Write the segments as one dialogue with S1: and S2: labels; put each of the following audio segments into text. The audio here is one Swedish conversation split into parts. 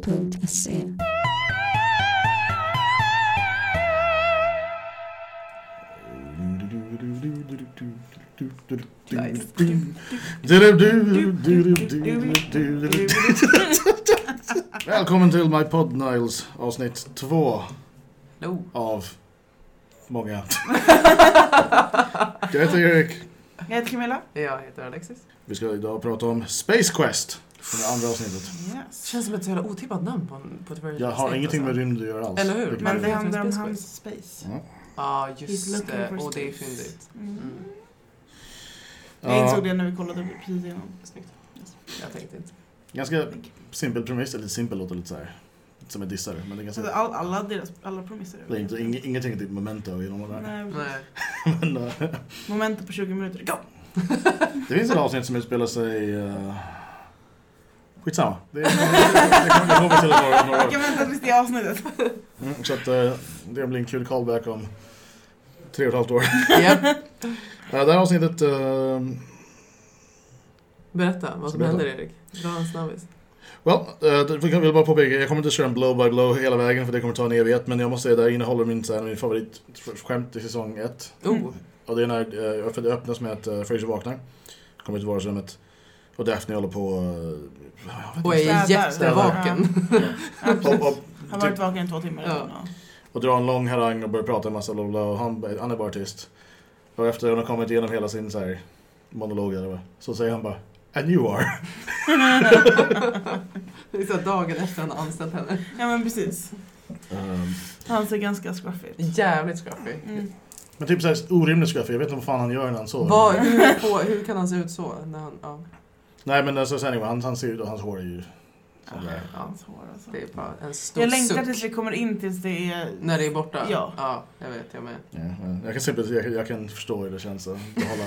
S1: planeten.se.
S2: Välkommen till My Pod Niles avsnitt två
S3: No.
S2: av många. Jag heter Erik.
S4: Jag heter Camilla.
S3: Jag heter Alexis.
S2: Vi ska idag prata om Space Quest. Som är andra avsnittet.
S3: Det
S4: Yes.
S3: känns som ett så jävla otippat namn på, en- på ett
S2: Jag har ingenting med rymd att göra alls.
S3: Eller hur?
S2: Vilket
S4: Men
S2: är-
S4: det
S3: Space
S4: handlar om
S3: Quest.
S4: hans space.
S2: Mm.
S3: Ja, ah,
S4: He's
S3: just
S4: looking
S3: det.
S4: for
S3: Och det är
S4: space.
S3: fyndigt.
S4: Mm.
S3: Mm.
S4: Jag insåg
S2: Ja, Alltså,
S4: det när vi kollade precis innan.
S3: Snyggt. Jag tänkte inte.
S2: ganska simpel premiss. Eller simpel låter lite så här. Som en dissare. Men det är
S4: Så att
S2: ganska...
S4: Alltså, all, alla deras alla premisser. är
S2: Det är inte, ing, ingenting är typ memento genom det där.
S4: Nej, precis.
S3: Nej.
S2: Men, eh,
S4: Momentet på 20 minuter. Go!
S2: det finns ett avsnitt som utspelar sig... Uh... Skitsamma. Det, det, det kommer jag ihåg till några, några
S4: Jag
S2: år.
S4: kan vänta tills det är avsnittet.
S2: Mm, så att eh, det blir en kul callback om tre och ett halvt år.
S3: Japp.
S2: Eh, det här avsnittet... eh,
S3: Berätta vad som
S2: Berätta.
S3: händer Erik. Dra en snabbis.
S2: well, eh, jag vill bara påpeka, jag kommer inte köra en blow by blow hela vägen för det kommer ta en evighet. Men jag måste säga, det här innehåller min, så här, min favoritskämt i säsong ett.
S3: Oh.
S2: Och det är när eh, för det öppnas med att eh, Fraser vaknar, kommer till vardagsrummet och Daphne håller på... eh, jag vet
S3: Och
S2: inte,
S3: är
S4: Städar.
S3: jättevaken.
S4: Ja, precis.
S2: och, typ- och,
S4: Han har varit vaken i två timmar.
S3: Ja.
S4: Ja.
S2: och drar en lång harang och börjar prata en massa bla bla, och han, han är bara tyst. Och efter hon har kommit igenom hela sin så här, monolog eller vad, så säger han bara And you are.
S3: Det är så här dagen efter han har anställt henne.
S4: ja men precis.
S2: Ehm,
S4: Han ser ganska scruffy ut.
S3: Jävligt skrappig.
S4: Mm.
S2: men typ såhär orimligt skraff, jag vet inte vad fan han gör när han sover.
S3: Vad, hur, på, hur kan han se ut så? När han, ja,
S2: Nej men alltså, så anyway, han, han ser ut och hans hår är ju...
S4: Ja,
S2: Sådär.
S4: hans hår alltså.
S3: det är bara en stor
S4: Jag längtar
S3: suck.
S4: tills vi kommer in tills det är...
S3: När det är borta?
S4: Ja.
S3: Ja, jag vet. Jag med.
S2: Ja, ja. jag, kan simpelt, jag, jag kan förstå hur det känns att behålla...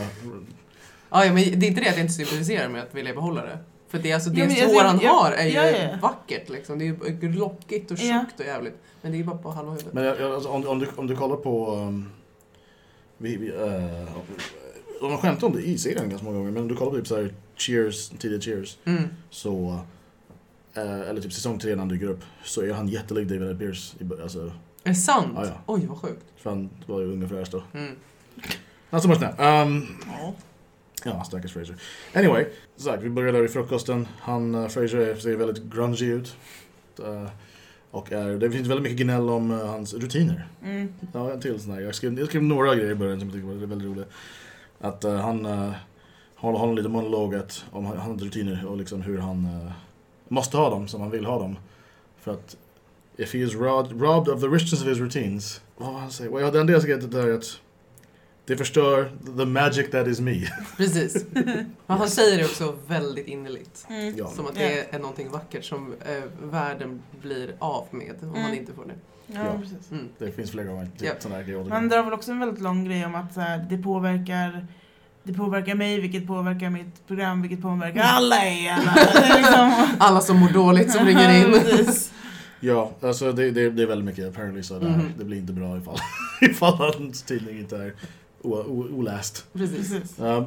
S3: Ja, ja, men det är inte det att jag inte sympatiserar med att vilja behålla det. För det, är alltså, det
S4: Ja, men jag
S3: hår han
S4: ser- jag-
S3: har är ju
S4: ja, ja.
S3: vackert liksom. Det är ju lockigt och
S4: Ja.
S3: tjockt och jävligt. Men det är ju bara på halva huvudet.
S2: Men jag, jag, alltså, om, om, du, om du kollar på... Um, vi, vi, eh, de har skämtat om det i serien ganska många gånger, men om du kollar på typ såhär Cheers, tidiga Cheers,
S3: Mm.
S2: så... eh, eller typ säsong tre när han dyker upp, så är han jättelik David Ed Pierce. i bör- Alltså,
S3: Är det sant?
S2: Ja, ja.
S3: Oj, vad sjukt.
S2: för han var ju ung och fräsch då.
S3: Mm.
S2: Not so much now. Um,
S4: Ja.
S2: Ja, stackars Fraser. Anyway, som sagt, vi börjar där i frukosten. Han, eh, Fraser är- ser väldigt grungy ut. Eh, och är, det finns väldigt mycket gnäll om eh, hans rutiner.
S4: Mm.
S2: Ja, en till sån här. Jag skrev, jag skrev några grejer i början som jag tyckte var väldigt roliga. Att eh, han eh, håller, håller lite monolog att, om han- hans rutiner och liksom hur han eh, måste ha dem som han vill ha dem. För att if he is robbed, robbed of the richness of his routines. Vad var han säger? Well, ja, det enda jag skrev där är att det förstör the magic that is me.
S3: Precis. Men han säger det också väldigt innerligt.
S4: Mm.
S2: Ja.
S3: Som att
S4: Ja.
S3: det är någonting vackert som eh, världen blir av med om man
S4: Mm.
S3: inte får det.
S4: Ja,
S2: Ja.
S4: precis.
S3: Mm.
S2: Det finns flera gånger typ,
S3: Ja.
S2: sådana här grejer.
S3: Mm.
S4: Man drar väl också en väldigt lång grej om att så här, det påverkar det påverkar mig, vilket påverkar mitt program, vilket påverkar alla i alla. Det är liksom-
S3: Mm. Alla som mår dåligt som ringer in.
S4: Precis.
S2: Ja, alltså det, det, det är väldigt mycket apparently så det, här,
S3: Mhm.
S2: det blir inte bra ifall, ifall hans tidning inte är o, o, oläst.
S3: Precis.
S4: Precis.
S2: Ehm,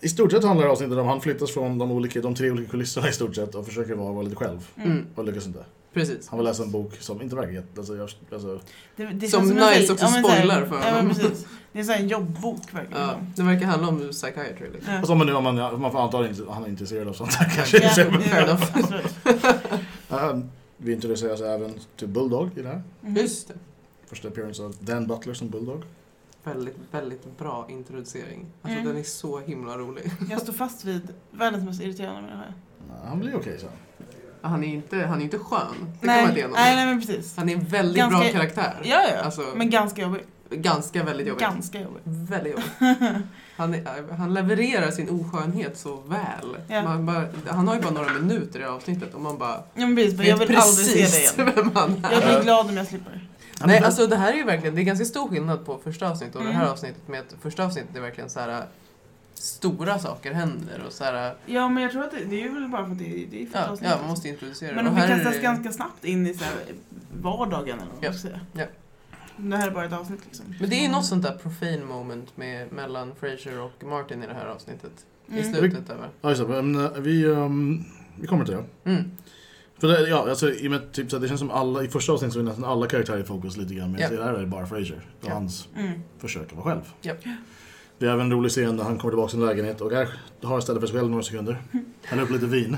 S2: I stort sett handlar avsnittet om han flyttas från de, olika, de tre olika kulisserna i stort sett och försöker vara, vara lite själv.
S3: Mm.
S2: Och lyckas inte.
S3: Precis.
S2: Han vill läsa en bok som inte verkar jätte... Alltså, jag, alltså,
S4: Det, det
S3: Som
S4: känns en
S3: Niles
S4: sån-
S3: också
S4: men så här-
S3: spoilar för
S4: Ja, men
S3: honom.
S4: precis. Det är så här en jobbbok verkligen.
S3: Ja, det verkar handla om psychiatry. Liksom.
S4: Ja.
S2: alltså om man, nu- om man, om man får anta att han är intresserad av sånt här kanske.
S4: Ja,
S2: Så-
S3: Fair
S4: ja,
S3: enough.
S4: absolut.
S2: Ehm, vi introduceras även till Bulldog i det här.
S4: Mm.
S3: Just det.
S2: Första appearance av Dan Butler som Bulldog.
S3: Väldigt, väldigt bra introducering. Alltså
S4: Mm.
S3: den är så himla rolig.
S4: Jag står fast vid världens mest irriterande människa.
S2: Han blir okej sen.
S3: Han är ju inte, han är inte skön. Det
S4: Nej,
S3: kommer
S4: nej,
S3: igenom.
S4: nej men precis.
S3: Han är en väldigt
S4: Ganska-
S3: bra karaktär.
S4: Ja, ja.
S3: Alltså-
S4: Men ganska jobbig.
S3: Ganska väldigt jobbig.
S4: Ganska jobbig.
S3: Väldigt jobbig. Han, är, han levererar sin oskönhet så väl.
S4: Ja.
S3: Man bara, han har ju bara några minuter i det här avsnittet och man bara
S4: Ja, men precis, men jag vill aldrig se det igen.
S3: vem han är.
S4: Jag blir glad om jag slipper.
S2: Han är
S3: Nej,
S2: väl-
S3: alltså det här är ju verkligen, det är ganska stor skillnad på första avsnittet och det här
S4: Mm.
S3: avsnittet med att första avsnittet är verkligen så här stora saker händer och så här,
S4: Ja men jag tror att det, det är väl bara för att det, det är första
S3: ja,
S4: avsnittet.
S3: ja, man måste introducera
S4: Men
S3: det.
S4: de
S3: Och här är
S4: kastas
S3: det-
S4: ganska snabbt in i så här vardagen eller vad man
S3: Ja,
S4: ska säga.
S3: ja.
S4: Det här är bara ett avsnitt liksom.
S3: Men det är ju något sånt där profane moment med, mellan Fraser och Martin i det här avsnittet. I
S4: Mm.
S3: slutet där va?
S2: Ja, just det. Men, eh, vi, ehm, vi kommer till det.
S3: Mm.
S2: För det, ja, alltså, i och med, typ, så här, det känns som alla, i första avsnittet så är nästan alla karaktärer i fokus lite grann. Men
S3: Ja.
S2: i det här är det bara Fraser och
S3: Ja.
S2: hans
S4: Mm.
S2: försök att vara själv.
S3: Ja.
S2: Det är även en rolig scen där han kommer tillbaka till sin lägenhet och här har stället för sig själv några sekunder. Häller upp lite vin.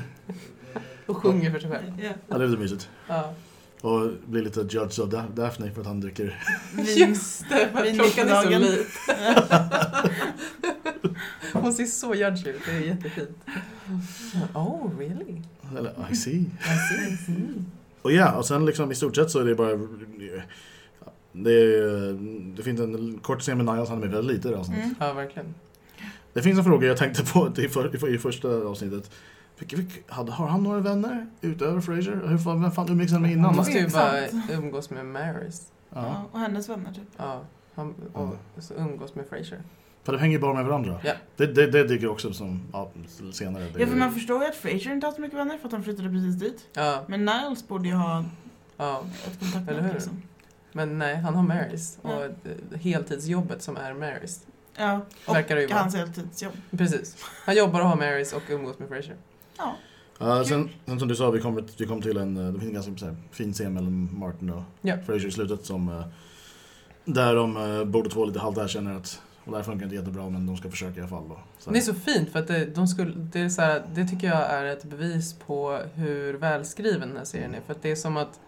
S3: Och sjunger för sig själv.
S4: Ja.
S2: Ja, det är lite mysigt.
S3: Ja.
S2: Och blir lite judged av Da- Daphne för att han dricker.
S4: Vin.
S3: Just det, för
S4: Vin
S3: att klockan är så
S4: dagen.
S3: liten. Hon ser så judgy ut, det är jättefint. Oh, really?
S2: Eller I see.
S3: I see.
S2: Och ja, och sen liksom i stort sett så är det bara... Det, är, det finns en kort scen med Niles, han är med väldigt lite i det här avsnittet.
S4: Mm.
S3: Ja, verkligen.
S2: Det finns en fråga jag tänkte på i, för, i, för, i första avsnittet. Vilka, vilka, hade, har han några vänner utöver Fraser? Hur, fan- vem fan umgicks han med innan?
S3: Han
S4: Mm.
S3: måste ju bara
S4: Intressant.
S3: umgås med Marys.
S2: Ja.
S4: Ja, och hennes vänner typ.
S3: Ja, han, och så umgås med Frasier.
S2: För de hänger ju bara med varandra.
S3: Ja.
S2: Det, det, det dyker också upp som ja, senare. Det,
S4: Ja, för man förstår ju att Fraser inte har så mycket vänner för att han flyttade precis dit.
S3: Ja,
S4: Men Niles borde ju ha
S3: ja.
S4: ett
S3: Eller hur?
S4: kontaktnät liksom.
S3: Men nej, han har Marys.
S4: Ja.
S3: Och eh, heltidsjobbet som är Marys.
S4: Ja, och
S3: Verkar det ju vara.
S4: hans heltidsjobb.
S3: Precis. Han jobbar och har Marys och umgås med Frasier.
S4: Ja.
S2: Ja, sen, sen som du sa, vi kom, ett- vi kom till en, eh, det finns en ganska så här, fin scen mellan Martin och
S3: Ja.
S2: Fraser i slutet som eh, där de eh, båda två lite halvt erkänner att och det här funkar inte jättebra men de ska försöka i alla fall. Då.
S4: Mm.
S2: Så här.
S3: Det är så fint för att det, de skulle, det, är så här, det tycker jag är ett bevis på hur välskriven den här serien är. För att det är som att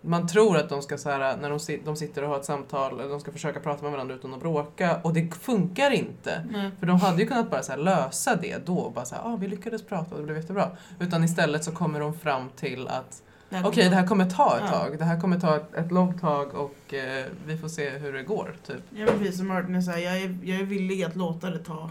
S3: man tror att de ska så här, när de, sit- de sitter och har ett samtal, eller de ska försöka prata med varandra utan att bråka och det funkar inte.
S4: Nej.
S3: För de hade ju kunnat bara så här lösa det då och bara så här, ah, vi lyckades prata och det blev jättebra. Utan istället så kommer de fram till att
S4: här
S3: okej,
S4: kommer-
S3: det här kommer ta ett
S4: Ja.
S3: tag. Det här kommer ta ett, ett långt tag och eh, vi får se hur det går, typ.
S4: Ja men precis som Martin är såhär, jag är, jag är villig att låta det ta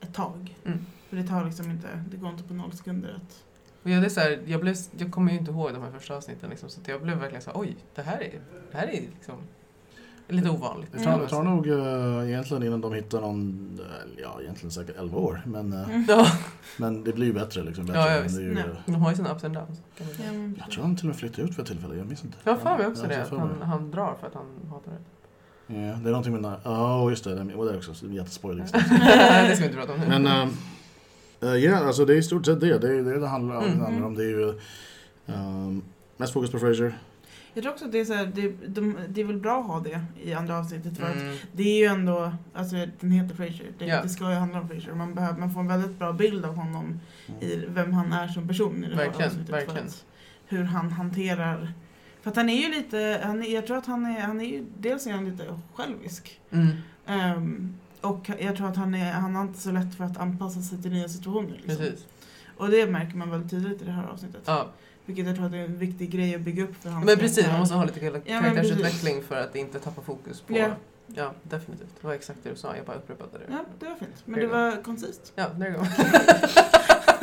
S4: ett tag.
S3: Mm.
S4: För det tar liksom inte, det går inte på noll sekunder att...
S3: Och jag, det är så här, jag, blev, jag kommer ju inte ihåg de här första avsnitten, liksom, så att jag blev verkligen så här, oj, det här är, det här är liksom lite ovanligt.
S2: Det tar,
S4: Mm.
S2: det tar nog eh, egentligen innan de hittar någon, eh, ja egentligen säkert 11 år. Men, eh,
S4: Mm.
S3: Ja,
S2: men det blir ju bättre liksom. Bättre,
S3: Mm. Ja, ja,
S2: men
S3: visst.
S2: det är ju,
S4: Nej.
S2: eh,
S3: de har ju sina ups and downs. kan man säga.
S4: men-
S2: jag tror han till och med flyttade ut för ett tillfälle, jag minns inte.
S3: Jag har för mig också
S2: Ja,
S3: det,
S2: jag
S3: att
S2: tror för
S3: han,
S2: mig.
S3: han drar för att han hatar det.
S2: Ja, det är någonting med den här- Ja, just det. Det var det också. så det är Jättespoiligt.
S3: det ska vi inte prata om nu.
S2: Men eh, eh, ja, alltså det är i stort sett det. Det är det det handlar,
S3: Mm.
S2: det handlar om. Det är ju eh, mest fokus på Fraser.
S4: Jag tror också att det är, så här, det, de, det är väl bra att ha det i andra avsnittet för att
S3: mm.
S4: det är ju ändå, alltså den heter Frasier, det,
S3: Ja.
S4: det ska ju handla om Frasier. Man, behöver, man får en väldigt bra bild av honom
S2: Mm.
S4: i vem han är som person i det här
S3: Verkligen,
S4: avsnittet.
S3: verkligen.
S4: För att, hur han hanterar, för att han är ju lite, han är, jag tror att han är, han är ju, dels är han lite självisk.
S3: Mm.
S4: Ehm, och jag tror att han, är, han har inte så lätt för att anpassa sig till nya situationer. Liksom.
S3: Precis.
S4: Och det märker man väldigt tydligt i det här avsnittet.
S3: Ja.
S4: Vilket jag tror att det är en viktig grej att bygga upp för hans
S3: Men precis, man
S4: karaktär.
S3: måste ha lite kar-
S4: Ja, men
S3: karaktärsutveckling för att inte tappa fokus på...
S4: Ja.
S3: Ja, definitivt. Det var exakt det du sa, jag bara upprepade det.
S4: Ja, det var fint. Men det var koncist.
S3: Ja, there you go.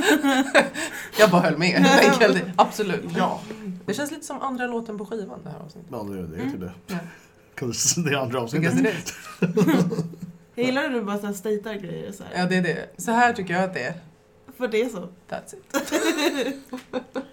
S3: jag bara höll med helt enkelt. Absolut.
S4: Ja.
S3: Det känns lite som andra låten på skivan det här avsnittet.
S2: Ja, det, det är
S4: Mm.
S2: typ det.
S3: Ja.
S2: Because det är andra
S3: Tycker
S2: avsnittet.
S3: jag det är.
S4: Jag gillar hur du bara så här statear grejer så här.
S3: Ja, det är det. Så här tycker jag att det är.
S4: För det är så.
S3: That's it.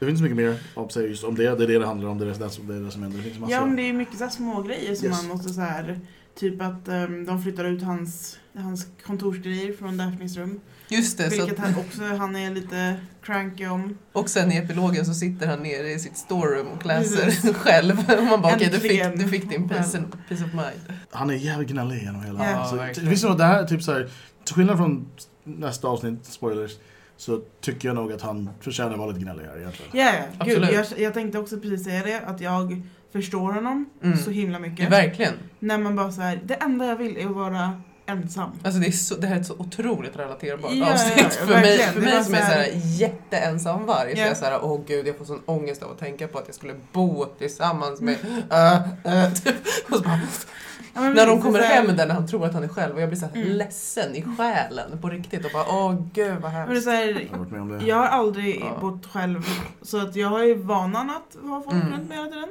S2: Det finns mycket mer att säga just om det. Det är det det handlar om. Det är det, som- det, är det som händer. Det finns massor.
S4: Ja, men det är ju mycket så här små grejer som
S2: Yes.
S4: man måste så här. Typ att ehm, de flyttar ut hans, hans kontorsgrejer från Daphnes rum.
S3: Just det. Så
S4: Vilket
S3: att,
S4: han också, han är lite cranky om.
S3: och sen i epilogen så sitter han nere i sitt storeroom och läser
S4: Precis.
S3: själv. Och man bara, okej, du,
S4: Äntligen.
S3: fick, du fick din peace, and, peace of mind.
S2: Han är jävligt gnällig genom hela...
S4: Ja.
S2: Alltså,
S3: Ja,
S2: det
S3: verkligen.
S2: visst är det här typ så här, till skillnad från nästa avsnitt, spoilers, så tycker jag nog att han förtjänar att vara lite gnällig här egentligen.
S4: Ja, ja. Gud, jag,
S3: Absolut.
S4: jag tänkte också precis säga det, att jag förstår honom
S3: Mm.
S4: så himla mycket.
S3: Ja, verkligen.
S4: när man bara så här, det enda jag vill är att vara ensam.
S3: Alltså det, är så, det här är ett så otroligt relaterbart
S4: Ja,
S3: avsnitt
S4: ja, ja,
S3: för
S4: verkligen.
S3: mig,
S4: Det
S3: för
S4: var
S3: mig som är
S4: så här-
S3: såhär jätteensam varg. Så
S4: Ja.
S3: jag är såhär, åh gud jag får sån ångest av att tänka på att jag skulle bo tillsammans med... äh, äh, typ. och så bara,
S4: Ja, men
S3: när de
S4: precis,
S3: kommer
S4: Mm. så här-
S3: hem där när han tror att han är själv och jag blir såhär
S4: Mm.
S3: ledsen i själen på riktigt och bara, åh gud vad
S4: Men det är
S3: hemskt.
S4: så här,
S2: Jag har varit med om det.
S4: jag har aldrig
S3: Ja.
S4: bott själv, så att jag har ju vanan att ha folk
S3: Mm.
S4: runt mig hela tiden.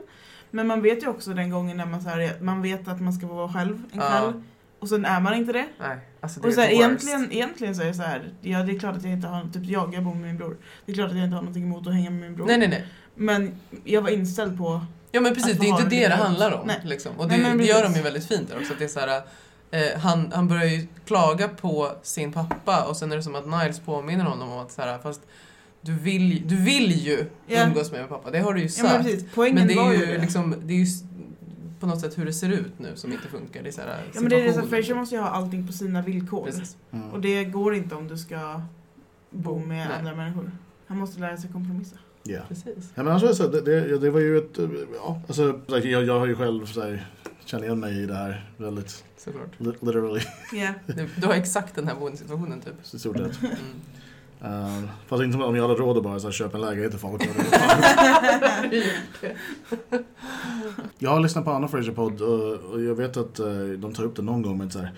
S4: Men man vet ju också den gången när man, så här, man vet att man ska vara själv en
S3: Ja.
S4: kväll, och sen är man inte det.
S3: Nej, alltså det
S4: Och så här,
S3: är the worst.
S4: egentligen, egentligen så är det så här, ja det är klart att jag inte har, typ jag, jag bor med min bror. Det är klart att jag inte har någonting emot att hänga med min bror.
S3: Nej nej nej.
S4: Men jag var inställd på
S3: Ja men precis,
S4: Att
S3: det är
S4: ha
S3: inte
S4: det
S3: det det
S4: lugnt.
S3: handlar om.
S4: Nej.
S3: Liksom. Och det,
S4: Nej, men
S3: det gör de
S4: precis.
S3: ju väldigt fint där också. Att det är så här, eh, han, han börjar ju klaga på sin pappa och sen är det som att Niles påminner honom om att så här, fast du vill, du vill ju
S4: Ja.
S3: umgås med min pappa, det har du ju
S4: Ja,
S3: sagt.
S4: men precis. Poängen
S3: men det
S4: var
S3: är
S4: ju
S3: ju
S4: det.
S3: liksom, det är ju s- på något sätt hur det ser ut nu som inte funkar. Det är så här
S4: Ja, men det är det, så
S3: situationen.
S4: Frasier måste ju ha allting på sina villkor.
S3: Precis.
S2: Mm.
S4: Och det går inte om du ska bo med
S3: Nej.
S4: andra människor. Han måste lära sig kompromissa.
S2: Ja.
S3: Precis.
S2: Ja, men alltså, så, det, det, det var ju ett... eh, Ja, alltså, så här, jag, jag har ju själv så här, känner igen mig i det här väldigt
S3: Såklart.
S2: li- literally
S4: Ja.
S3: Du, du har exakt den här boendesituationen typ.
S2: i stort sett.
S3: Mm.
S2: Um, fast inte som om jag hade råd att bara så här, köpa en lägenhet till folk. jag har lyssnat på annan Fraser-podd och, och jag vet att eh, de tar upp det någon gång men så här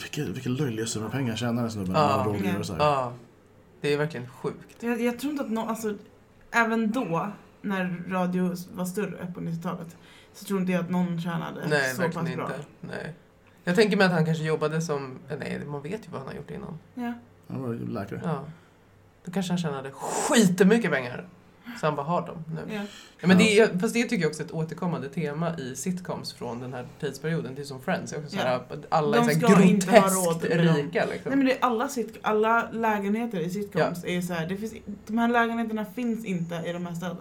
S2: vilka, vilka löjliga summor pengar tjänar den snubben?
S3: Ja.
S2: Han har råd att göra så här.
S3: Ja, Ah. det är verkligen sjukt.
S4: Jag, jag tror inte att någon, alltså, även då, när radio var större på 90-talet, så tror inte jag att någon tjänade
S3: Nej,
S4: så pass
S3: verkligen
S4: bra.
S3: inte. Nej. Jag tänker mig att han kanske jobbade som... Nej, man vet ju vad han har gjort innan.
S4: Ja.
S2: Han var ju
S4: Mm.
S2: läkare.
S3: Ja. Då kanske han tjänade skitmycket pengar. Så han bara har dem nu.
S4: Ja.
S3: Ja, men det, är- fast det tycker jag också är ett återkommande tema i sitcoms från den här tidsperioden. Det är som Friends. Jag också så här, att alla är
S4: De
S3: så
S4: ska
S3: här
S4: inte ha råd
S3: groteskt
S4: med dem.
S3: rika. Liksom.
S4: Nej men det är alla, sit- alla lägenheter i sitcoms är så här, det finns, de här lägenheterna finns inte i de här städerna.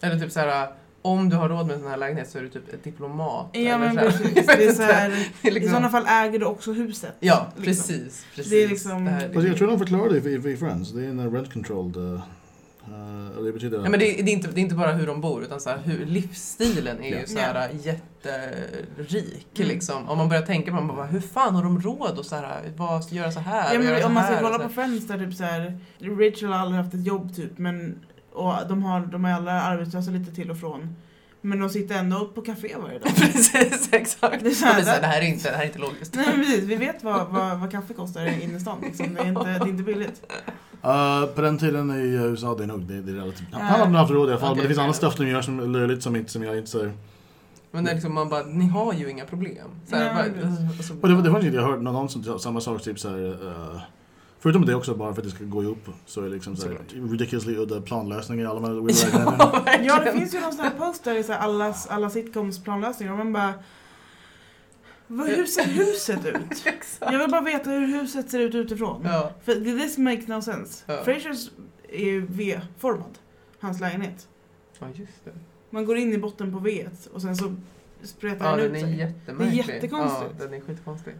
S3: Eller typ så här, om du har råd med en sån här lägenhet så är du typ ett diplomat.
S4: Ja men
S3: så här.
S4: precis.
S3: Jag
S4: Det är
S3: vet
S4: så
S3: inte.
S4: här,
S3: Det är
S4: I
S3: liksom-
S4: sådana fall äger du också huset.
S3: Ja,
S4: liksom.
S3: precis. precis.
S4: Det är liksom-
S3: Det här är-
S2: Fast jag tror de förklarade det i, i Friends. Det är en eh, rent controlled... eh, eh, och det betyder
S3: Ja, men det, är- det, är inte, det är inte bara hur de bor utan så här, hur livsstilen är
S2: Ja.
S3: ju så här, jätterik.
S4: Mm.
S3: Liksom. Om man börjar tänka på det, man bara, hur fan har de råd att så här, vad, ska göra så här?
S4: Ja,
S3: och
S4: men
S3: göra
S4: om
S3: så
S4: man
S3: här och
S4: ska kolla
S3: så
S4: på
S3: här.
S4: Friends där typ så här, Rachel har aldrig haft ett jobb typ men och de, har, de är alla arbetslösa lite till och från. Men de sitter ändå på café varje dag.
S3: Precis, exakt.
S4: Det är så här-
S3: Det, här, det, här är inte, det här är inte logiskt.
S4: Nej men precis, vi vet vad, vad, vad kaffe kostar i innerstan liksom. Det är inte, det är inte billigt.
S2: Eh, på den tiden i USA, det är nog det, det är relativt...
S4: Ja.
S2: Han hade nog haft råd i alla fall,
S3: Okej,
S2: men det finns
S3: okej.
S2: annat stuff de gör som är löjligt som, inte, som jag inte säger.
S3: Men det är liksom, man bara, ni har ju inga problem. Så här,
S4: Nej,
S3: bara,
S4: men-
S3: alltså,
S2: Och det, var- det var inte jag hörde någon annan som sa samma sak, typ såhär... eh, förutom det också, bara för att det ska gå ihop, så är det liksom såhär, ridiculously udda planlösningar i alla de här lägenheterna.
S4: Ja det finns ju någon sån här post där det är så här, alla, alla sitcoms planlösningar och man bara vad, hur ser huset ut? Jag vill bara veta hur huset ser ut utifrån.
S3: ja,
S4: För this makes no sense.
S3: Ja.
S4: Frasers är ju V-formad, hans lägenhet.
S3: ja, just det.
S4: Man går in i botten på V och sen så spretar
S3: Ja,
S4: den ut
S3: den är
S4: sig.
S3: jättemärklig.
S4: Det är jättekonstigt.
S3: Ja, den är skitkonstig.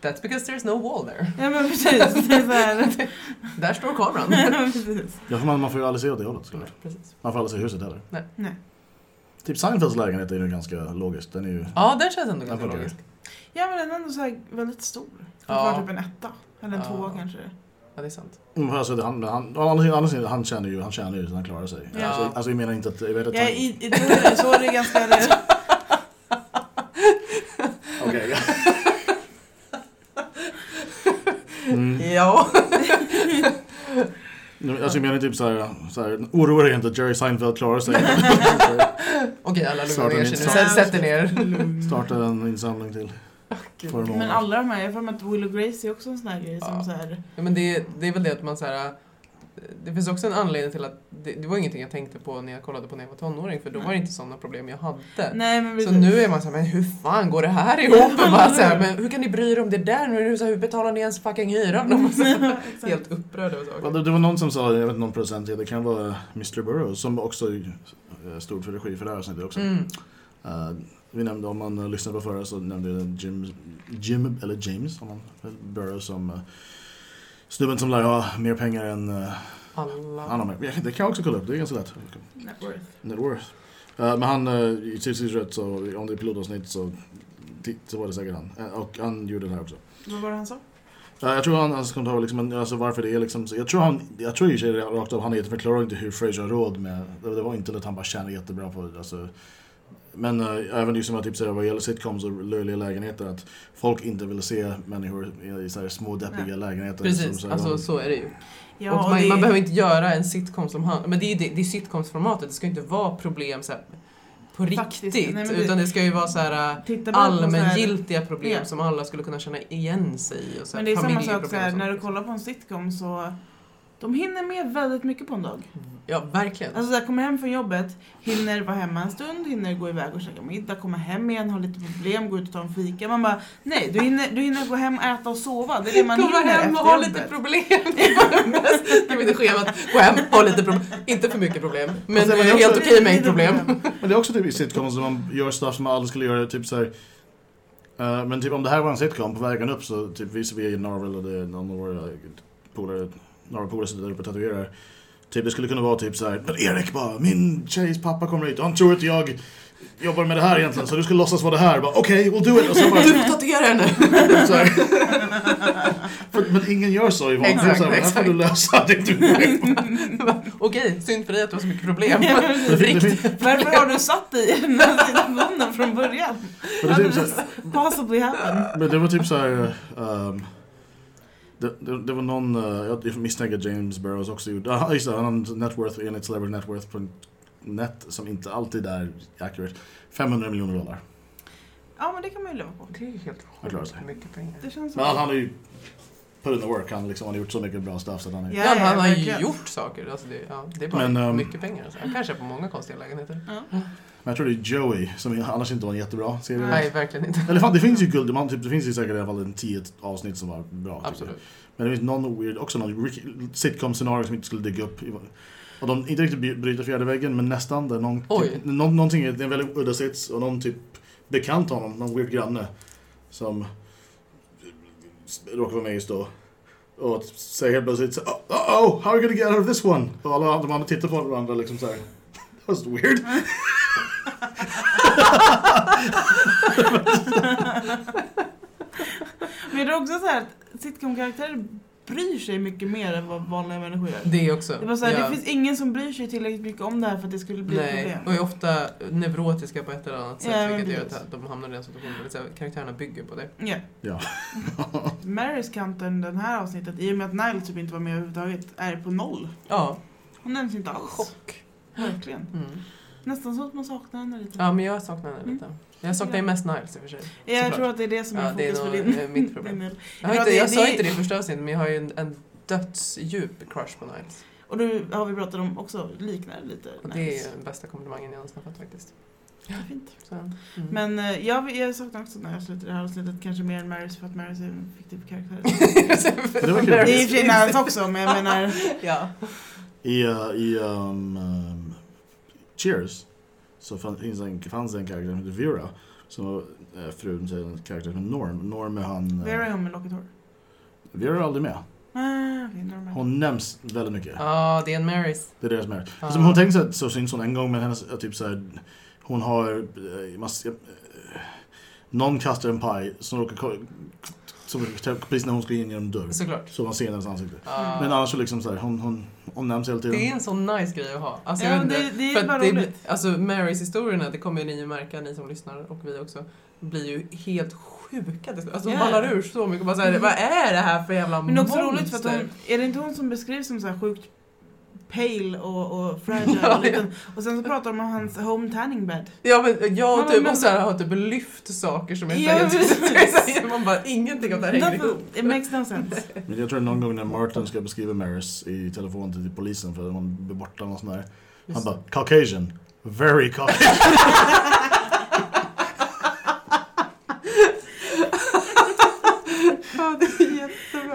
S3: That's because there's no wall there.
S4: Ja men precis, det är så här.
S3: Där står kameran.
S4: Ja, precis.
S2: Ja, för man, man får ju aldrig se åt det hållet såklart.
S3: Precis.
S2: Man får aldrig se huset heller.
S4: Nej.
S2: Typ Seinfelds lägenhet är ju ganska logisk. Den är ju...
S3: Ja, den känns ändå
S2: Den
S3: ganska
S2: funkar.
S3: logisk.
S4: Ja men den är ändå så här väldigt stor. Det
S3: Ja.
S4: var typ en etta, eller en
S3: Ja.
S4: tvåa kanske.
S3: Ja, det är sant.
S2: Mm, Alltså, det- han, han, å andra sidan- å andra sidan, han tjänar ju, han tjänar ju så han klarar sig.
S3: Ja.
S2: Alltså, alltså jag menar inte att... Jag vet att
S4: Ja,
S2: han,
S4: i, i, så är det ganska...
S2: Okej. mm.
S3: Ja.
S2: Nu, Alltså jag menar typ såhär, såhär oroa dig inte, Jerry Seinfeld klarar sig.
S3: Okej, alla lugnar
S2: Starta
S3: ner
S2: min
S3: sig nu.
S2: start.
S3: Sätt, sätt er ner.
S4: Lugn.
S2: Starta en insamling till. För en
S4: Men
S2: månad.
S4: alla de här, jag har för mig att Will och Grace är också en sån här grej
S3: Ja.
S4: som så här...
S3: Ja, men det, det är väl det att man så här. eh, Det finns också en anledning till att det, det var ingenting jag tänkte på när jag kollade på när jag var tonåring för då var det inte sådana problem jag hade.
S4: Nej men
S3: Så
S4: precis.
S3: nu är man såhär, men hur fan går det här ihop? Och bara så här, men hur kan ni bry er om det där? Nu är det så här, hur betalar ni ens fucking hyran? Och man så här,
S4: Exakt.
S3: helt upprörd över
S2: Ja,
S3: saker.
S2: Det, det var någon som sa, jag vet inte någon producent, det kan vara Mr Burroughs som också eh, stod för regi för det här avsnittet också.
S3: Mm.
S2: Eh, vi nämnde, om man eh, lyssnade på förra så nämnde jag Jim, Jim eller James, om man, Burroughs som eh, snubben som lär ha mer pengar än eh, han
S3: Alla.
S2: har mer. Ja, Det kan jag också kolla upp, det är ganska lätt.
S4: Net worth.
S2: Net worth. Eh, men han, eh, i Tipsys rätt så, om det är pilotavsnitt så, ti- så var det säkert han. Eh, och han gjorde det här också.
S4: Vad var det han sa?
S2: Eh, jag tror han, hans kommentar var liksom, en- alltså varför det är liksom, så, jag tror han, jag tror i och för sig rakt av, han är- förklarar inte hur Fraser har råd med, det det var inte att han bara tjänar jättebra på, alltså. Men eh, även liksom att typ såhär, vad gäller sitcoms och löjliga lägenheter, att folk inte vill se människor i, i såhär små deppiga
S4: Nej.
S2: lägenheter. som
S3: Precis,
S2: så här-
S3: alltså så är det ju.
S4: Ja,
S3: och
S4: och
S3: man,
S4: det-
S3: man behöver inte göra en sitcom som handlar... Men det är ju det, det är sitcomsformatet, det ska ju inte vara problem så här, på
S4: Faktiskt,
S3: riktigt.
S4: nej, men det-
S3: utan det ska ju vara så här, äh,
S4: Tittar man på så här-
S3: allmängiltiga problem
S4: Ja.
S3: som alla skulle kunna känna igen sig i. Och så här,
S4: Men det är samma
S3: familjeproblem
S4: sak så här,
S3: och sånt.
S4: när du kollar på en sitcom så De hinner med väldigt mycket på en dag.
S3: Ja, verkligen.
S4: Alltså jag kommer hem från jobbet, hinner vara hemma en stund, hinner gå iväg och käka middag, komma hem igen, ha lite problem, gå ut och ta en fika. Man bara, nej du hinner, du hinner gå hem, äta och sova. Det är det man
S3: Komma
S4: hinner
S3: hem och
S4: efter
S3: ha
S4: jobbet.
S3: lite problem. Det var det bästa med det schemat. Gå hem, ha lite problem. Inte för mycket problem, men
S2: sen var
S3: det
S2: det
S3: är helt
S2: också-
S3: okej mängd problem.
S2: Men det är också typ i sitcoms där man gör stuff som man aldrig skulle göra, typ såhär eh, men typ om det här var en sitcom, på vägen upp så typ visar vi i Norvel och det är någon av våra polare, några polare sitter där uppe och tatuerar. Typ det skulle kunna vara typ såhär, men Erik bara, min tjejs pappa kommer hit och han tror att jag jobbar med det här egentligen så du ska låtsas vara det här. Bara, Okej, we'll do it! Och så bara,
S3: Du får tatuera henne.
S2: så här. För, men ingen gör så Yvonne.
S3: Exakt,
S2: Exakt, så här, men här får
S3: exakt.
S2: du lösa det du vill.
S4: Mm.
S3: Okej, synd för dig att du har så mycket problem.
S4: Ja,
S3: Riktigt.
S4: Varför har du satt dig i den här situationen från början?
S2: Men det, är typ så här,
S4: Possibly happen.
S2: Men det var typ så här. ehm, det, det, det var någon, eh, jag misstänker att James Burrows också gjorde, ah, just det, han har en net worth enligt Celebrity Net Worth på net som inte alltid är accurate. 500 miljoner dollar.
S4: Ja men det kan man ju leva på.
S3: Det är ju helt
S2: Jag klarar sig.
S3: sjukt mycket pengar.
S4: Det känns
S2: Men han han har ju put in the work, han liksom har gjort så mycket bra stuff så att han är...
S4: Ja,
S3: Ja, han har ju
S4: verkligen.
S3: gjort saker. Alltså det, ja, det är bara
S2: Men, ehm,
S3: mycket pengar. Alltså. Han kanske är på många konstiga lägenheter.
S2: Men jag tror det är Joey, som annars inte var en jättebra serie.
S3: Nej, verkligen inte.
S2: Eller fan, det finns ju guld, man, typ, det finns ju säkert i alla fall en 10 avsnitt som var bra. typ. tycker jag.
S3: Absolut.
S2: Men det finns någon weird, också någon rick- sitcom-scenario som inte skulle dyka upp. i- Och de inte riktigt by- bryter fjärde väggen, men nästan. Där någon,
S3: Oj.
S2: typ, någon, någonting, det är en väldigt udda sits och någon typ bekant till honom, någon weird granne. Som råkar vara med just då. Och säger helt plötsligt så, oh, oh, oh, how are you gonna get out of this one? Och alla de andra tittar på varandra liksom såhär. That was weird.
S4: Men det är också så här att sitcom-karaktärer bryr sig mycket mer än vad vanliga människor gör.
S3: Det är också.
S4: Det, var så här,
S3: ja.
S4: det finns ingen som bryr sig tillräckligt mycket om det här för att det skulle bli ett
S3: Nej,
S4: problem.
S3: och är ofta neurotiska på ett eller annat sätt
S4: Ja, men
S3: vilket gör
S4: precis.
S3: att de hamnar i den situationen. Det är så här, Karaktärerna bygger på det.
S4: Ja.
S2: Ja.
S4: Marys kanten den här avsnittet, i och med att Nile typ inte var med överhuvudtaget, är på noll.
S3: Ja,
S4: Hon nämns inte alls.
S3: chock.
S4: Verkligen.
S3: Mm.
S4: Nästan så att man saknar henne lite.
S3: Ja, men jag saknar henne lite. Jag saknar ju
S4: Mm. Ja.
S3: mest Niles i och för sig.
S4: jag
S3: såklart.
S4: tror att det är det som är
S3: Ja, det är
S4: fokus för
S3: nog,
S4: din,
S3: eh, mitt problem.
S4: din del.
S3: Jag, har
S4: Ja,
S3: inte,
S4: det-
S3: jag
S4: det-
S3: sa inte det i första avsnittet, men jag har ju en, en dödsdjup crush på Niles.
S4: Och nu har vi pratat om också, liknar lite.
S3: Och det är den bästa komplimangen jag någonsin har fått faktiskt.
S4: Det är fint.
S3: Så, mm.
S4: Men eh, jag, jag saknar också när jag slutar det här avsnittet, kanske mer än Marys för att Marys är en fiktiv karaktär.
S2: var kul.
S4: det är i och för sig Niles också, men jag menar...
S3: Ja.
S2: I, eh, i ehm, ehm, Cheers så fann- finns en, fanns det en karaktär som heter Vera. Som var eh, frun till en karaktär som heter Norm. Norm är han... eh,
S4: Vera är hon med lockigt hår.
S2: Vera är aldrig med.
S4: Ah, okej, normal.
S2: Hon nämns väldigt mycket.
S3: Ja, det är en Marys.
S2: Det är deras marriage.
S3: Ja.
S2: Alltså, hon tänker sig att så syns hon en gång men hennes, eh, typ såhär, hon har eh, massa, eh, någon kastar en paj som råkar ko- som, precis när hon ska in genom dörren.
S3: Såklart.
S2: Så man ser hennes ansikte.
S3: Ja.
S2: Men annars så liksom såhär, hon, hon omnämns hela tiden.
S3: Det är en sån nice grej att ha. Alltså,
S4: Ja,
S3: jag vet
S4: det-
S3: inte,
S4: det är
S3: för att
S4: bara roligt.
S3: Alltså Marys historierna, det kommer ju ni märka, ni som lyssnar och vi också, blir ju helt sjuka till slut. Alltså de
S4: Ja.
S3: ballar ur så mycket. Bara så här,
S4: Mm.
S3: Vad är det här för jävla
S4: Men också
S3: monster?
S4: roligt för att hon, är det inte hon som beskrivs som så här sjukt pale och, och fragile
S3: Ja,
S4: och liten? Och sen så pratar de om hans home tanning bed.
S3: Ja men jag
S4: Ja,
S3: och typ,
S4: men-
S3: och så här, har typ lyft saker som är
S4: Ja,
S3: ja,
S4: precis.
S3: helt... Man bara, ingenting av det här hänger
S4: Därför-
S3: ihop.
S4: It makes no sense.
S2: Men jag tror någon gång när Martin ska beskriva Maris i telefon till polisen för att hon blir borta och sån där. Han
S3: Just
S2: bara Caucasian. Very Caucasian.
S3: Ja, det är jättebra.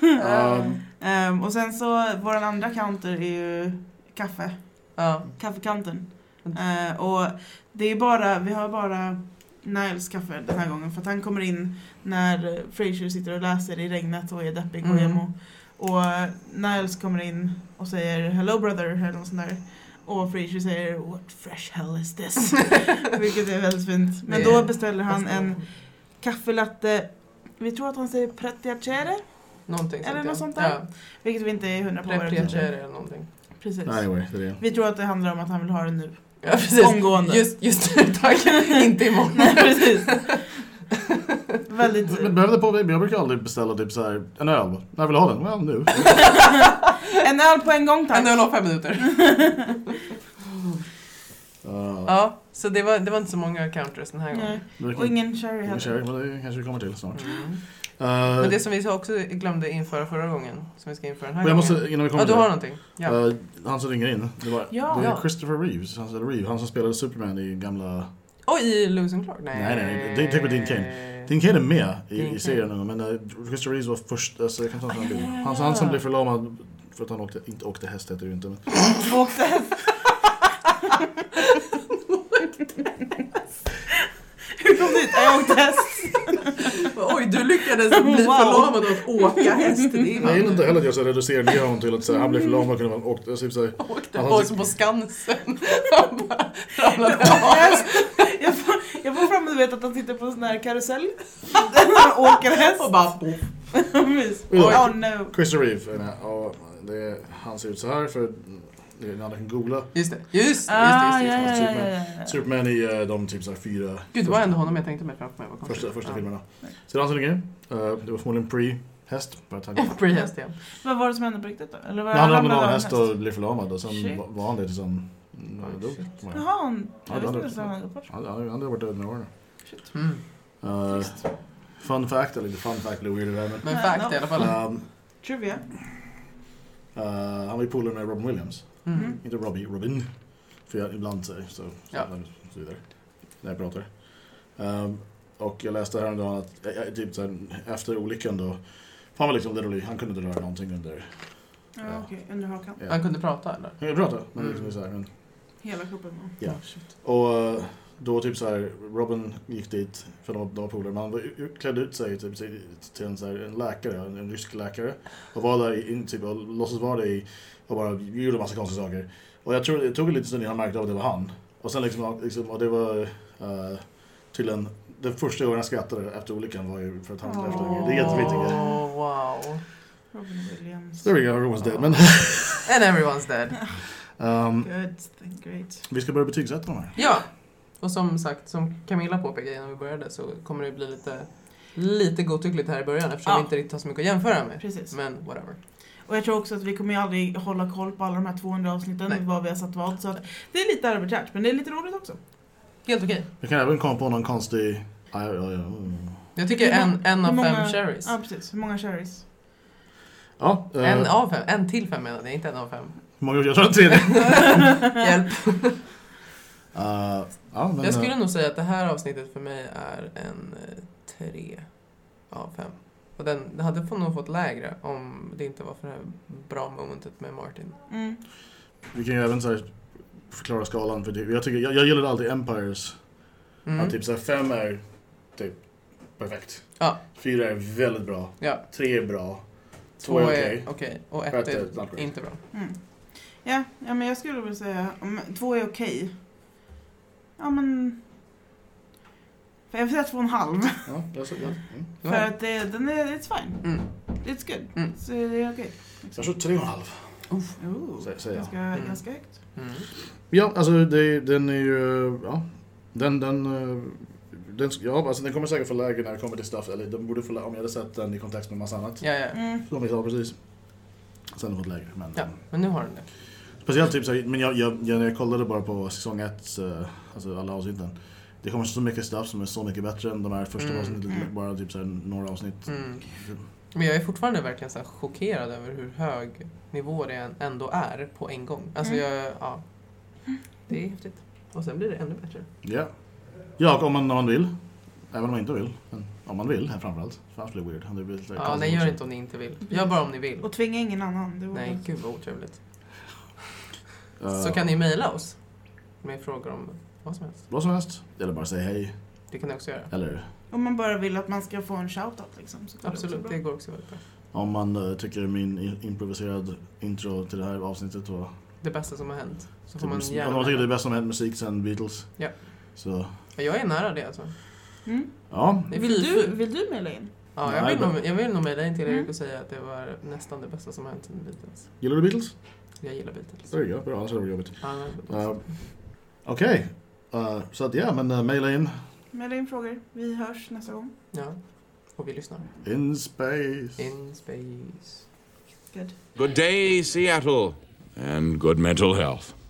S4: Ja.
S2: um,
S4: Ehm, och sen så, våran andra counter är ju kaffe.
S3: Ja.
S2: Um,
S4: Kaffekanten. Eh, och det är bara, vi har bara Niles kaffe den här gången för att han kommer in när eh, Frasier sitter och läser i regnet och är deppig och
S3: Mm.
S4: emo. Och eh, Niles kommer in och säger Hello brother eller något sånt där. Och Frasier säger What fresh hell is this? Vilket är väldigt fint. Men
S3: Det är
S4: då beställer han en kaffelatte vi tror att han säger pretiacere,
S3: Någonting sånt,
S4: Eller
S3: ja.
S4: något sånt där. vilket vi inte är hundra på vad det betyder.
S3: Prepriacere eller någonting.
S4: Precis.
S2: anyway, det är det.
S4: Vi tror att det handlar om att han vill ha det nu.
S3: Ja, precis.
S4: Omgående.
S3: Just, just nu, tack. Inte imorgon.
S4: Nej, precis. Väldigt...
S2: Men behöver det på, jag brukar aldrig beställa typ så här, en öl. När vill du ha den? Well, nu.
S4: En öl på en gång tack.
S3: En öl och fem minuter.
S2: Uh,
S3: Ja, så det var, det var inte så många counters den här gången.
S4: Nej.
S2: det
S4: Och
S2: kan-
S4: ingen sherry
S2: ingen
S4: heller.
S2: sherry, men det kanske vi kommer till snart.
S3: Mm.
S2: Eh,
S3: Men det som vi också glömde införa förra gången, som vi ska införa den här
S2: men jag
S3: gången.
S2: måste, innan vi
S3: Ja,
S2: kommer
S3: du har
S2: till
S3: någonting. Ja.
S2: det. eh, han som ringer in, det var,
S4: Ja.
S2: det är
S3: Ja.
S2: Christopher Reeves, han, eller Reeve, han som spelade Superman i gamla...
S3: Oj, i Lewis and Clark? Nej,
S2: Nej, nej, det- tänk på Dean Dean Kane är med i,
S3: Dean
S2: i
S3: Cain.
S2: serien nu, men eh, Christopher Reeves var först, alltså, jag kan ta en sån här bild.
S4: Ah, ja, ja,
S2: Han,
S4: ja.
S2: han som blev förlamad för att han åkte, inte åkte häst heter det ju inte, men
S4: Åkte Hur kom du dit? Jag åkte häst.
S3: Oj, du lyckades bli
S4: Wow.
S3: förlamad av att åka häst. Det är
S2: jag gillar inte heller att jag så här reducerar ner honom till att så här, han blev förlamad och kunde man åkt, alltså, typ, så här,
S3: Åkte
S2: Han
S3: på,
S2: tyck-
S3: på Skansen. Han bara ramlade
S4: Jag
S3: av.
S4: åkte häst. Jag får, jag får fram du vet att han sitter på en sån här karusell. Där han åker häst.
S3: Och bara poff.
S4: Mys.
S2: Oj.
S4: Oh no.
S2: Christopher Reeve, är med, och det, är- han ser ut så här för, ni alla kan googla.
S3: Just det, just, just,
S4: Ah,
S3: just,
S4: ja,
S3: just,
S4: ja,
S3: just.
S4: ja, ja, ja.
S2: Superman i eh, de typ så här fyra
S3: Gud, det var ändå honom jag tänkte mig framför mig. Vad konstigt.
S2: första, första
S3: Ja.
S2: filmerna.
S4: Nej.
S2: Så det är han som ringer, Eh, det var förmodligen pre-häst, bara tanken.
S3: Pre-häst igen.
S4: Vad var det som hände på riktigt då? Eller var
S2: Men han ramlade av
S4: ramlade
S2: en
S4: av
S2: häst och blev förlamad och sen
S4: Shit.
S2: var- var han det tills han eh, dog.
S3: Shit.
S4: Jaha, han...
S2: Ja,
S4: Jag
S2: det
S4: visste
S2: hade-
S4: inte ens att han hade gått bort.
S2: Han han- han hade varit död några år nu.
S4: Shit.
S3: Mm.
S2: Eh, fun fact, eller inte fun fact, det är weird det där men.
S3: Men
S4: Nej,
S3: fact
S4: no.
S3: i alla fall.
S2: Um,
S4: Trivia.
S2: eh, han var ju polare med Robin Williams.
S3: Mm.
S2: Inte Robbie, Robin. För jag ibland säger så. så,
S3: Ja.
S2: så vidare. När jag pratar. Ehm, och jag läste häromdagen att eh, eh, typ så här, efter olyckan då. Han var liksom literally, han kunde inte röra någonting under.
S4: Ja, okej. Under hakan.
S2: Ja.
S3: Han kunde prata eller?
S2: Han kunde prata, men liksom
S3: Mm.
S2: så här, men
S4: Hela kroppen.
S2: Ja.
S3: Oh, shit.
S2: Och eh, då typ så här, Robin gick dit för de, de var polare, men han var, u- klädde ut sig typ, till till en, så här, en läkare, en, en rysk läkare. Och var där i- in, typ, och låtsas vara det i, och bara gjorde massa konstiga saker. Och jag tror det tog en liten stund innan han märkte av att det var han. Och sen liksom, liksom och det var eh, tydligen, den första gången han skrattade efter olyckan var ju för att han blev efter en grej. Det är jätteviktigt.
S3: Oh, wow.
S4: Robin Williams.
S2: There we go, Robin's dead. Men
S3: And everyone's dead.
S2: ehm,
S4: Good, thing, great.
S2: vi ska börja betygsätta de här.
S3: Ja, och som sagt, som Camilla påpekade innan vi började så kommer det bli lite, lite godtyckligt här i början eftersom
S4: Ja.
S3: vi inte riktigt har så mycket att jämföra med.
S4: Precis.
S3: Men whatever.
S4: Och jag tror också att vi kommer ju aldrig hålla koll på alla de här 200 avsnitten,
S3: Nej.
S4: vad vi har satt vad. Så att det är lite arbetsärt, men det är lite roligt också.
S3: Helt okej.
S2: Jag kan även komma på någon konstig... Aj, aj, aj, aj.
S3: Jag tycker
S4: Hur
S3: en, en av
S4: hur
S3: fem
S4: många-
S3: cherries.
S4: Ja, precis. Hur många cherries?
S2: Ja, eh,
S3: En av fem. En till fem menade jag, inte en av fem.
S2: Hur många jag tror att det är det.
S3: Hjälp.
S2: Eh, ja, men,
S3: Jag skulle
S2: eh,
S3: nog säga att det här avsnittet för mig är en eh, tre av fem. Och den den hade få- nog fått lägre om det inte var för det här bra momentet med Martin.
S4: Mm.
S2: vi kan ju även så här, förklara skalan. För det, jag, tycker, jag, jag gillar alltid Empires.
S3: Mm.
S2: Att typ så här, fem är typ perfekt.
S3: Ja.
S2: Fyra är väldigt bra.
S3: Ja.
S2: Tre är bra.
S3: Två är okej och ett
S2: Ett är
S3: är
S2: not great.
S3: inte bra.
S4: Mm. Ja, ja, men jag skulle vilja säga om två är okej. Ja, men... För jag vill säga två och en halv.
S2: Ja, jag, så, ja. Mm.
S3: Det
S4: För
S3: var-
S4: att det, den är, it's fine.
S3: Mm.
S4: It's good.
S3: Mm.
S4: Så det är okej.
S2: Så jag tror tre och en halv.
S4: Ooh,
S2: Sä- säger jag.
S4: ganska,
S3: Mm.
S4: ganska högt.
S3: Mm.
S2: Ja, alltså det, den är ju... eh, Ja, den... den eh, den, ja, alltså den kommer säkert få lägre när det kommer till stuff, eller den borde få lä- om jag hade sett den i kontext med massa annat.
S3: Ja, ja.
S4: Mm.
S2: Som vi sa precis. Sen har den fått lägre, men...
S3: ja, men nu har den det.
S2: Speciellt typ såhär, men jag, jag, jag, när jag kollade bara på säsong 1, alltså alla avsnitten. Det kommer så mycket stuff som är så mycket bättre än de här första
S3: Mm,
S2: avsnitten,
S4: mm.
S2: bara typ såhär, några avsnitt.
S3: Mm. Men jag är fortfarande verkligen så här chockerad över hur hög nivå det än- ändå är på en gång. Alltså
S4: Mm.
S3: jag, ja. Det är häftigt. Och sen blir det ännu bättre.
S2: Ja. Ja, och om man, om man vill. Även om man inte vill. Men om man vill, här framförallt. För annars blir det weird. Det blir lite
S3: Ja,
S2: konstigt
S3: nej gör
S2: också.
S3: inte om ni inte vill. Gör bara om ni vill.
S4: Och tvinga ingen annan. Det var
S3: Nej,
S4: väl-
S3: gud vad otrevligt.
S2: Eh,
S3: Så kan ni mejla oss med frågor om vad som helst.
S2: Vad som helst. Eller bara säga hej.
S3: Det kan ni också göra.
S2: Eller
S4: Om man bara vill att man ska få en shoutout liksom. Så går det också
S3: Absolut,
S4: bra.
S3: det går också väldigt bra.
S2: om man eh, tycker min i- improviserad intro till det här avsnittet var...
S3: Det bästa som har hänt. Så får
S2: Typ,
S3: man
S2: mus- om man tycker det är
S3: gärna...
S2: bäst som hänt musik sen Beatles.
S3: Ja.
S2: Så,
S3: Ja, Jag är nära det alltså.
S4: Mm.
S2: ja.
S3: Det är
S4: Vill,
S3: fy-
S4: du, vill du mejla in?
S3: Ja, jag
S2: Nej,
S3: vill,
S2: men-
S3: nog, jag vill nog mejla in till Erik
S4: Mm.
S3: och säga att det var nästan det bästa som har hänt sedan Beatles.
S2: Gillar du Beatles?
S3: Jag gillar Beatles.
S2: There you go. Bra, annars hade det varit jobbigt.
S3: Ja, men Beatles.
S2: Ja. Okej, Eh, så att ja, men uh, mejla in.
S4: Mejla in frågor. Vi hörs nästa gång.
S3: Ja. Och vi lyssnar.
S2: In space.
S3: In space.
S4: Good.
S1: Good day, Seattle, and good mental health.